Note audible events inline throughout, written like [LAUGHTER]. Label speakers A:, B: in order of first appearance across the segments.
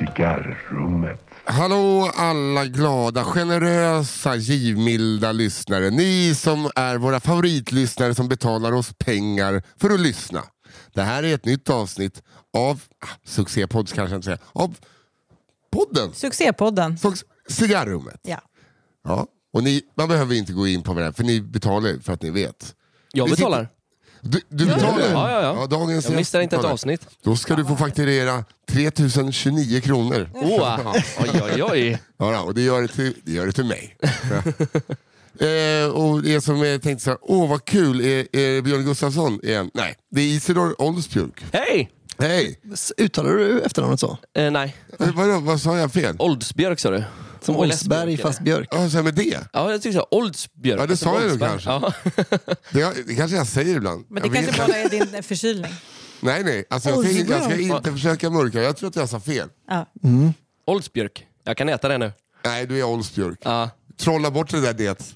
A: Cigarrummet.
B: Hallå alla glada, generösa, givmilda lyssnare. Ni som är våra favoritlyssnare som betalar oss pengar för att lyssna. Det här är ett nytt avsnitt av, ah, succépodd kanske jag inte säger, av podden.
C: Succépodden.
B: Folks, cigarrummet.
C: Ja.
B: Ja. Och ni, man behöver inte gå in på vad det är, för ni betalar ju för att ni vet.
D: Jag
B: Vi
D: betalar.
B: Du, du betalar?
D: Ja, ja, ja.
B: dagens
D: Jag missar
B: gäst
D: inte ett
B: betalar.
D: avsnitt.
B: Då ska du få fakturera 3029 kronor. [LAUGHS]
D: Åh, oj, oj, oj.
B: Ja, då, och det gör det till, det gör det till
D: [LAUGHS]
B: mig. eh, och det som jag tänkte så här, åh vad kul, är, är det Björn Gustafsson igen? Nej, det är Isidor Oldsbjörk.
D: Hej!
B: Hej!
E: S- Uttalar du efternamnet så?
D: Eh, nej,
B: Eh, vadå, vad sa jag fel?
D: Oldsbjörk sa du.
E: Som
D: Och
E: Oldsberg
D: Läsbjörk,
E: fast
D: eller?
E: Björk.
B: Ja, så här med det.
D: Ja, jag tyckte så. Oldsbjörk.
B: Ja, det
D: Alltså,
B: sa jag nog
D: Oldsberg.
B: kanske.
D: Ja.
B: det. har- Det kanske jag säger ibland.
C: Men det
B: jag
C: kanske
B: vet
C: bara är din eh, förkylning.
B: Nej, nej. Alltså, jag,
E: Oldsbjörk.
B: tänker, jag ska inte försöka mörka. Jag tror att jag sa fel.
C: Ja.
D: Oldsbjörk. Jag kan äta det nu.
B: Nej, du är Oldsbjörk.
D: Ja.
E: [LAUGHS]
B: Trolla bort det där
D: [LAUGHS]
B: det.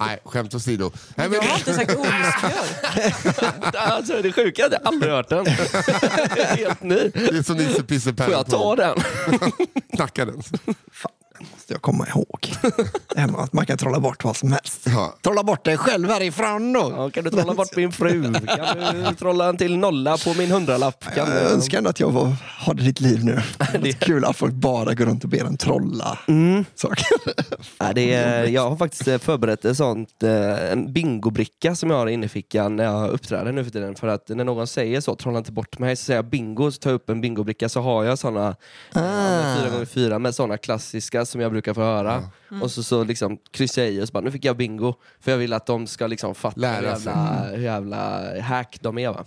B: nej, skämt åsido. Nej, men,
C: Jag har inte sagt
B: [LAUGHS]
C: olycksbjörk.
D: Alltså, det är sjuka, jag hade aldrig hört den. [LAUGHS] Helt ny.
B: det är som Nisse Pisse
D: Får jag ta den?
B: [LAUGHS] Knacka
D: [LAUGHS]
B: den.
E: måste jag komma ihåg. [LAUGHS] Det här med att man kan trolla bort vad som helst.
B: Ja.
E: Trolla bort dig själv härifrån då.
D: Ja, kan du trolla bort min fru? Kan du trolla en till nolla på min hundralapp? Kan
E: Jag
D: du...
E: önskar ändå att jag var, hade ditt
D: [LAUGHS]
E: liv nu. Det är kul att folk bara går runt och ber en trolla saker.
D: Ja, Mm. det är, jag har faktiskt eh, förberett en, sånt, eh, en bingobricka som jag har inne i fickan när jag uppträder nu för tiden. För att när någon säger så, trolla inte bort mig, så säger jag bingo, så tar jag upp en bingobricka så har jag såna ah. 4x4 med såna klassiska som jag brukar få höra. Och så, så liksom kryssar jag i och så bara, nu fick jag bingo. För jag vill att de ska liksom fatta hur
B: Lära sig.
D: jävla, hur jävla hack de är. Va?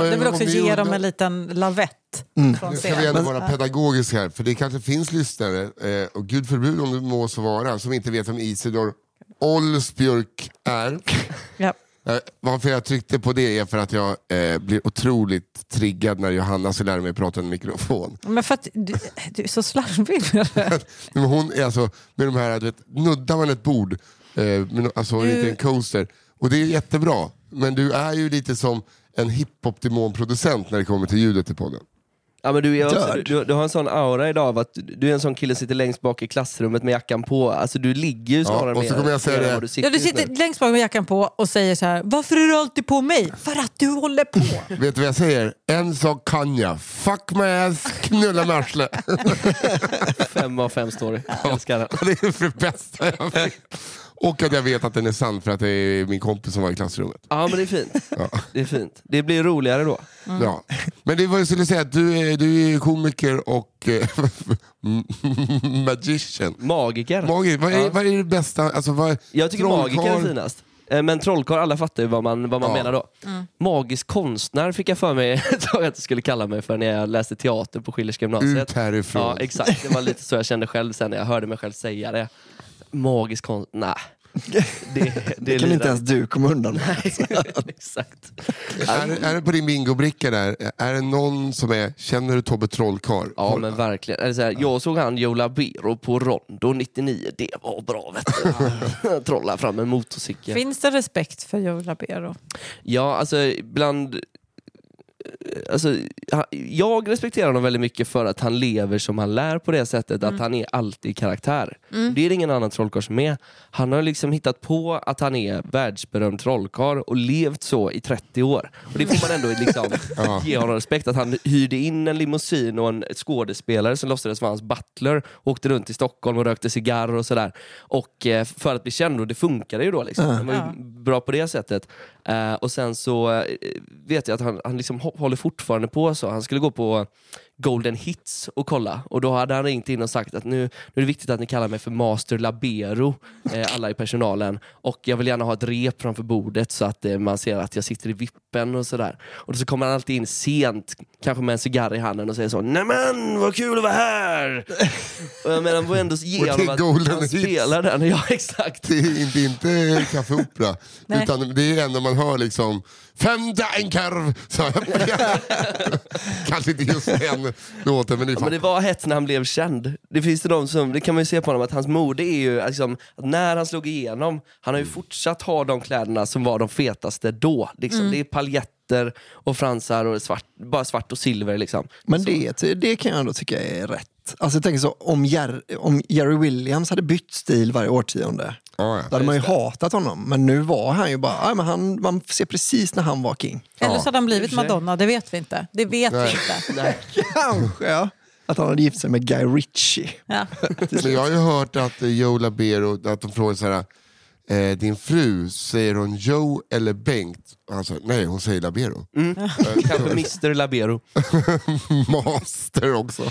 C: Du vill också ge dem en liten lavett från
B: Nu Mm. ska vi
C: scenen.
B: ändå vara pedagogiska här, för det kanske finns lyssnare, eh, och gud förbjud om det må så vara, som inte vet vem Isidor Olsbjörk är.
C: Ja.
B: Eh, Varför jag tryckte på det är för att jag eh, blir otroligt triggad när Johanna så lär mig prata i en mikrofon. [LAUGHS]
C: Men för att du, du är så slarvig med det.
B: Men hon är alltså, med de här, du vet, nuddar man ett bord, eh, men, alltså
C: Du-
B: inte en coaster, och det är jättebra, men du är ju lite som en hiphop-demon-producent när det kommer till ljudet i podden.
D: Ja, men du, är också,
E: Död.
D: du, du har en sån aura idag av att du- du är en sån kille som sitter längst bak i klassrummet med jackan på. Alltså du ligger ju snarare
B: och så
D: mer-
B: kommer jag säga
D: mer än
B: det.
D: vad Du sitter
C: Ja, du
D: just nu.
C: sitter längst bak med jackan på och säger så här, varför är du alltid på mig? För att du håller
B: [LAUGHS]
C: på.
B: Vet du vad jag säger? En sak kan jag. Fuck my ass, knulla med arsle.
D: Fem av fem story. [LAUGHS] Jag älskar den.
B: [LAUGHS] Det är det bästa jag vet. Och att jag vet att den är sann för att det är min kompis som var i klassrummet.
D: Ja men det är fint. Det är fint. Det blir roligare då.
B: Ja. Men det var jag skulle säga, att du är, du är komiker och eh, [LAUGHS] magician.
D: Magiker.
B: Magiker, vad, är,
D: Ja.
B: vad är det bästa? Alltså, vad,
D: Jag tycker
B: trollkarl-
D: magiker är finast. Eh, Men trollkarl, alla fattar ju vad man, vad man
B: Ja.
D: menar då. Magisk konstnär fick jag för mig [LAUGHS] ett tag att jag skulle kalla mig för när jag läste teater på Schillers gymnasiet.
B: Ut härifrån.
D: Ja, exakt. Det var lite så jag kände själv sen när jag hörde mig själv säga det. Magisk konst... Nej. Det, det,
E: Det kan
D: lirar.
E: inte ens du komma undan med.
D: [LAUGHS] Exakt.
B: Är, är det på din bingobricka där, är det någon som är, känner du Tobbe Trollkarl?
D: Ja men verkligen. Eller så här, jag såg han Joe Labero på Rondo 99, det var bra vet du. [LAUGHS] Trolla fram en motorcykel.
C: Finns det respekt för Joe Labero?
D: Ja, alltså bland... Alltså, han- jag respekterar honom väldigt mycket för att han lever som han lär på det sättet. Att han är alltid i karaktär. Det är det ingen annan trollkarl som är. Han har liksom hittat på att han är världsberömd trollkarl och levt så i 30 år. Och Det får man ändå liksom ge honom respekt. Att han hyrde in en limousin och en skådespelare som låtsades vara hans butler. Åkte runt i Stockholm och rökte cigarr och sådär. Och eh, för att bli känd och det funkade ju då. Liksom. Han var ju
C: Ja.
D: bra på det sättet. Eh, och sen så eh, vet jag att han, han liksom hå- håller fortfarande på så. Han skulle gå på Golden Hits och kolla och då hade han ringt in och sagt att nu, nu är det viktigt att ni kallar mig för Master Labero, eh, alla i personalen. Och jag vill gärna ha ett rep framför bordet så att eh, man ser att jag sitter i vippen och sådär. Och så kommer han alltid in sent, kanske med en cigarr i handen och säger så Nämen vad kul att vara här! och jag menar, man får ändå
B: Och
D: ge
B: det är
D: honom att
B: Golden
D: han
B: Hits.
D: spelar den. Ja [LAUGHS] exakt.
B: Det är inte, inte Café Opera,
C: [LAUGHS] Nej.
B: utan det är det enda man hör liksom Femda en korv! [LAUGHS] Så jag- Kanske inte just den låten, men ni
D: Ja, Alltså, men
B: fattar.
D: det var hett när han blev känd. Det finns det de som, det kan man ju se på honom, att hans mode är ju liksom, att när han slog igenom, han har ju fortsatt ha de kläderna som var de fetaste då. Liksom. Det är paljetter och fransar och svart, bara svart och silver. Liksom.
E: Men det, det kan jag ändå tycka är rätt. Alltså jag tänker så, om, Jer- om Jerry Williams hade bytt stil varje årtionde,
B: Ja,
E: då
B: ja.
E: hade man ju hatat honom. Men nu var han ju bara, "Aj, men han, man ser precis när han var king.
C: Eller
B: Ja.
C: så hade han blivit
D: I och för sig.
C: Madonna, det vet vi inte. Det vet vi
B: Nej.
C: inte.
D: Nej.
E: Kanske ja. Att han hade gift sig med Guy Ritchie.
B: [LAUGHS]
C: Ja.
B: Men jag har ju hört att eh, Joe Labero, att de frågar så här, eh, din fru, säger hon Joe eller Bengt? Och han sa, nej hon säger Labero.
D: Mm. Kanske Mr Labero.
B: [LAUGHS] Master också.
D: [LAUGHS]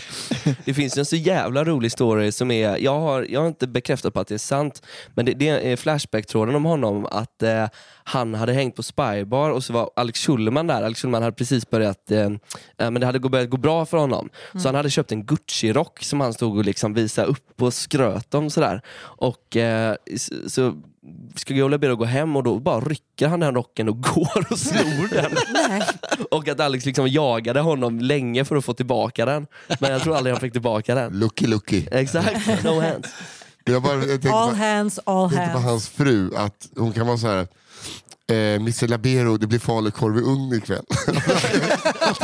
D: Det finns ju en så jävla rolig story som är, jag har, jag har inte bekräftat på att det är sant, men det, det är Flashback-tråden om honom att eh, han hade hängt på Spybar och så var Alex Schulman där. Alex Schulman hade precis börjat, eh, eh, men det hade gå- börjat gå bra för honom. Så han hade köpt en Gucci-rock som han stod och liksom visade upp och skröt om sådär. Och eh, s- så ska Joe Labero gå hem och då bara rycker han den rocken och [LAUGHS] går och snor den.
C: Nej.
D: [LAUGHS] Och att Alex liksom jagade honom länge för att få tillbaka den. Men jag tror aldrig han fick
B: [LAUGHS]
D: tillbaka den.
B: Lucky lucky.
D: Exakt, no hands.
B: Jag bara, jag tänkte
C: All
B: bara,
C: hands, all
B: tänkte på
C: hands.
B: hans fru, att hon kan vara så här. Eh, Mr Labero, det blir falukorv i ugn ikväll. [LAUGHS]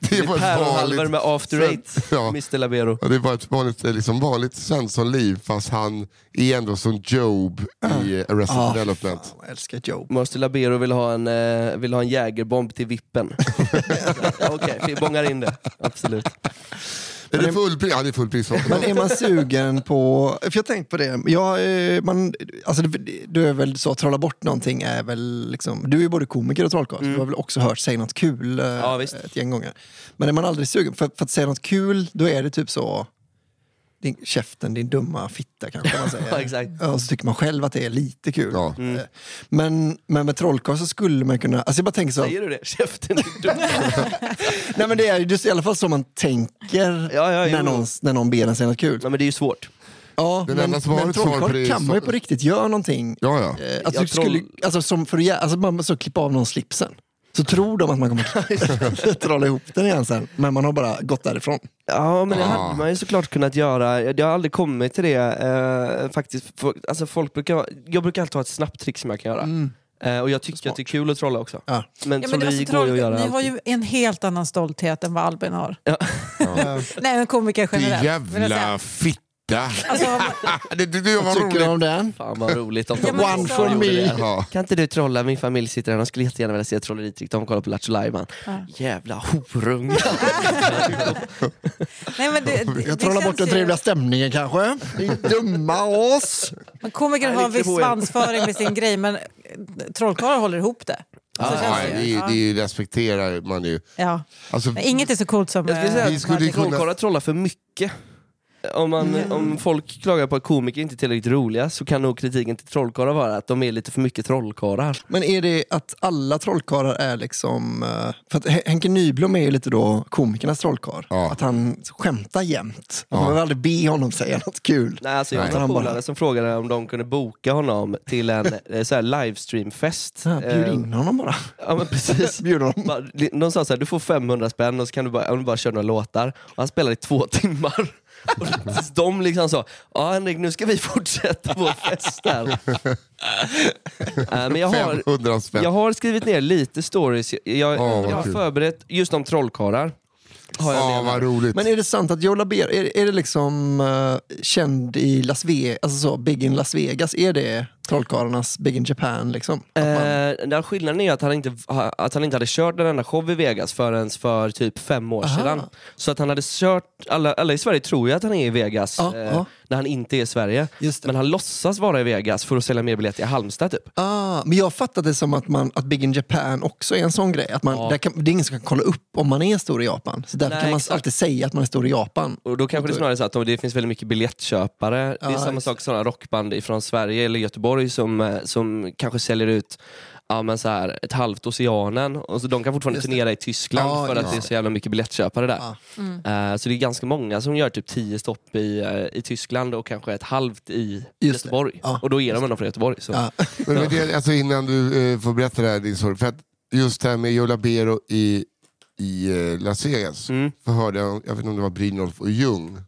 B: det är bara ett
D: Päronhalvor
B: vanligt,
D: med after
B: Sen-
D: eight,
B: [LAUGHS] ja.
D: Mr Labero.
B: ja, det är bara ett vanligt, eh, liksom vanligt Svensson-liv fast han är ändå som Job i eh, Arrested
E: Ah, fan,
B: Development.
E: jag älskar Joe.
D: Mr Labero vill ha en, eh, vill ha en jägerbomb
B: [LAUGHS]
D: till vippen. Ja, Okej, vi bångar in det. Absolut.
B: Är det fullpris? Ja, det är fullpris.
E: Men är man sugen på... För jag har tänkt på det. Jag, eh, man, alltså, det- du är väl så, att trolla bort någonting är väl liksom... Du är ju både komiker och trollkarl. så Du har väl också hört säga något kul eh,
D: Mm. Ja, visst.
E: ett gäng gånger. Men är man aldrig sugen, för, för att säga något kul, då är det typ så... Din, käften, din dumma fitta kanske man säger.
D: [LAUGHS] Ja, exakt. Mm.
E: Ja, Och så tycker man själv att det är lite kul.
B: Ja.
E: Eh, Men, men med trollkarl så skulle man kunna... Alltså jag bara tänker så...
D: Säger du det? Käften är dum.
E: Nej men det är ju det är i alla fall så man tänker
D: Ja, ja,
E: när,
D: jo.
E: någon, när någon ber en säga något kul.
D: Nej, men det är ju svårt.
E: Ja,
B: Den
E: men,
B: enda som har
E: men
B: ett svar på
E: trollkarl
B: det är
E: kan
B: så-
E: man ju på riktigt göra någonting.
B: Ja, ja.
E: Eh, Alltså,
D: Ja,
E: du skulle,
D: troll-
E: alltså, som för, att gä- alltså, man så klippa av någon slipsen. Så tror de att
B: [LAUGHS]
E: man kommer [LAUGHS] trolla ihop den igen sen, men man har bara gått därifrån.
D: Ja, men det
B: Ah.
D: hade man ju såklart kunnat göra. Jag har aldrig kommit till det eh, faktiskt. Folk- Alltså, folk brukar, jag brukar alltid ha ett snabbt trick som jag kan göra. Eh, och jag tycker att det är kul att trolla också.
E: Ja.
D: Men
C: Ja, men det var
D: trolleri
C: så
D: går ju
C: troll...
D: att göra
C: Ni har
D: alltid.
C: ju en helt annan stolthet än vad Albin har.
D: Ja.
C: [LAUGHS] Nej, men komiker
B: Din
C: generellt. vill jag
B: jävla
C: säga.
B: fitta. [LAUGHS]
C: Alltså,
B: det tyckte jag var
E: Vad tycker
B: roligt.
E: du om den?
D: Fan vad roligt om
C: Ja,
D: de
C: men alltså-
D: också
C: One for
D: gjorde
E: me.
D: det.
B: Ja.
D: Kan inte du trolla? Min familj sitter här, de skulle jättegärna vilja se ett trolleritrick. De kollar på Lattjo Lajban. Jävla
C: [LAUGHS]
D: horungar.
C: Alltså- nej,
B: [LAUGHS]
C: men det, det,
E: Jag
C: det
E: trollar bort
C: känns
E: den
C: ju-
E: trevliga stämningen kanske. Ni är dumma oss.
C: Men komiker
D: Nej,
C: har en
D: riktigt
C: viss
D: på er.
C: svansföring med sin grej, men eh, trollkarlar håller ihop det. Så
B: Ja,
C: känns
B: det, är,
C: det ju.
B: ju- Ah, det är ju respekterar man ju.
C: Ja.
B: Alltså,
C: Men Inget är så coolt som...
D: Jag skulle
C: eh,
D: säga att
B: Vi skulle ju
C: Magic.
B: kunna-
D: Trollkarlar trollar för mycket. Om, man,
C: Mm.
D: om folk klagar på att komiker inte är tillräckligt roliga så kan nog kritiken till trollkarlar vara att de är lite för mycket trollkarlar.
E: Men är det att alla trollkarlar är liksom... eh, För att Hen- Henke Nyblom är ju lite då komikernas trollkarl.
B: Ja.
E: Att han skämtar jämt. Att Man behöver aldrig be honom säga något kul.
D: Nej, alltså jag
B: Nej.
D: har en
E: Han bara-
D: polare som frågade om de kunde boka honom till
E: [LAUGHS]
D: en eh, så här livestreamfest.
E: Så här, Bjud
D: Eh,
E: in honom bara.
D: Ja, men precis.
E: [LAUGHS] Bjud honom.
D: Bara- De sa såhär, du får 500 spänn och så kan du bara, om du bara kör några låtar. Och han spelade i två [LAUGHS] timmar. Och tills de liksom sa, ja Henrik nu ska vi fortsätta vår fest
E: [LAUGHS]
D: här. Äh, men jag har,
B: 500 spänn.
D: jag har skrivit ner lite stories. Jag,
B: Åh, vad
D: jag har
B: kul.
D: förberett just om trollkarlar. Har jag
B: Ja,
D: det.
B: vad roligt.
E: Men är det sant att Joe Labero, är, är det liksom eh, känd i Las Vegas, alltså så, Big in Las Vegas, är det trollkarlarnas Big in Japan liksom? Att man,
D: Eh, den skillnaden är att han, inte, att han inte hade kört en enda show i Vegas förrän för typ fem år sedan. Så att han hade kört, alla, alla i Sverige tror ju att han är i Vegas
E: Ja,
D: eh,
E: ja.
D: när han inte är i Sverige.
E: Just det.
D: Men han låtsas vara i Vegas för att sälja mer biljetter i Halmstad typ.
E: ah, men jag fattade det som att, man, att Big in Japan också är en sån grej. Att man, där kan, det är ingen som kan kolla upp om man är stor i Japan. Så därför
D: Nej,
E: kan man
D: exakt.
E: alltid säga att man är stor i Japan.
D: Och då kanske det snarare är så att det finns väldigt mycket biljettköpare. det är
E: Ja,
D: samma
E: just
D: sak sådana rockband från Sverige eller Göteborg som, eh, som kanske säljer ut ja, men så här, ett halvt Oceanen. Och så de kan fortfarande
E: Just det.
D: turnera i Tyskland
E: Ja,
D: för att
E: just
D: det är
E: det.
D: så jävla mycket biljettköpare där.
E: Ja.
D: Eh, så det är ganska många som gör typ 10 stopp i, eh, i Tyskland och kanske ett halvt i
E: det.
D: Göteborg.
E: Ja,
D: och då är de ändå från Göteborg. Så.
E: Ja.
B: Men, men det, alltså innan du eh, får berätta det här, din story, för att just det här med Joe Labero i, i eh, Las Vegas,
D: Mm.
B: så hörde jag, jag vet inte om det var Brynolf och Ljung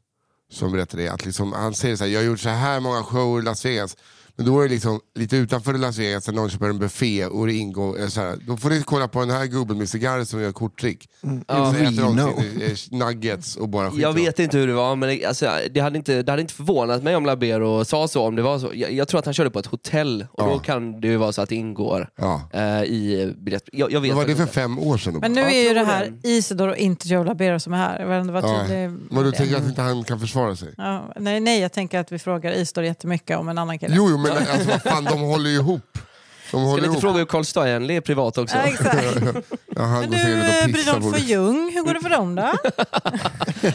B: som berättade det, att liksom, han säger så här, jag har gjort så här många shower i Las Vegas, Men då är det liksom lite utanför Las Vegas, där någon köper en buffé och det ingår, eh, så här, då får ni kolla på den här gubben med cigarr som gör korttrick.
C: Mm.
D: Ja.
B: Så äter de
E: Reno.
B: sin, eh, nuggets och bara skiter
D: Jag
B: i dem.
D: vet inte hur det var, men det- alltså, det, hade inte, det hade inte förvånat mig om Labero sa så. Om det var så. Jag, jag tror att han körde på ett hotell och
B: Ja.
D: då kan det ju vara så att det ingår
B: Ja.
D: eh, i biljett. Jag, jag vet
B: Vad var det
D: faktiskt
B: för fem
D: inte.
B: år sedan? då?
C: Men nu
D: Ja,
C: är ju
D: tror
C: det
D: det.
C: här Isidor och inte Joe Labero som är här. Jag vill ändå vara
B: Ja.
C: tydlig.
B: Men
C: med
B: du
C: det.
B: tänker att inte han kan försvara sig?
C: Ja, nej, nej, jag tänker att vi frågar Isidor jättemycket om en annan kille.
B: Jo, jo men alltså, vad fan, de håller ju ihop. De
D: Ska
B: håller
D: vi inte
B: ihop.
D: fråga hur Carl Stanley är privat [LAUGHS] också?
C: Ja, exakt.
B: Ja, [LAUGHS] han
C: Men
B: går säkert
C: du,
B: och
C: eh,
B: pissar på
C: Brydolf och
B: det.
C: Ljung, hur går det för dem då?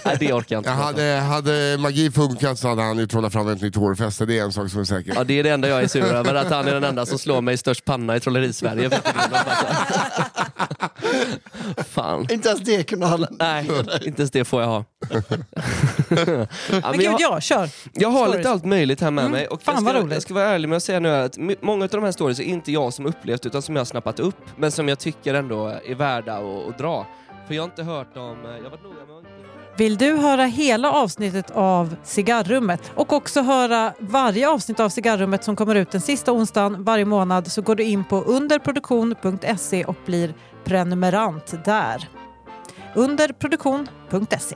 D: Nej, det orkar jag inte.
B: jag
D: prata
B: hade,
D: om.
B: hade magi funkat så hade han ju trollat fram ett nytt hårfäste, det är en sak som är säker.
D: Ja, det är det enda jag är sur över, att han är den enda som slår mig i störst panna i trolleri-Sverige.
B: [LAUGHS]
D: Fan.
E: Inte ens det kunde han...
D: Nej, inte ens det får jag [LAUGHS] ha. ja,
C: Men
D: men jag, Mm.
C: gud, ja, kör.
D: jag har
C: stories.
D: lite allt möjligt här med mig. Och
C: fan,
D: jag,
C: vad
D: ska,
C: roligt.
D: jag ska vara ärlig med att säga nu att my- många av de här stories är inte jag som upplevt utan som jag har snappat upp. Men som jag tycker ändå är värda att, att dra. För jag har inte hört dem... eh, Jag har varit noga med att inte...
C: Vill du höra hela avsnittet av Cigarrummet och också höra varje avsnitt av Cigarrummet som kommer ut den sista onsdagen varje månad så går du in på underproduktion.se och blir prenumerant där. Underproduktion.se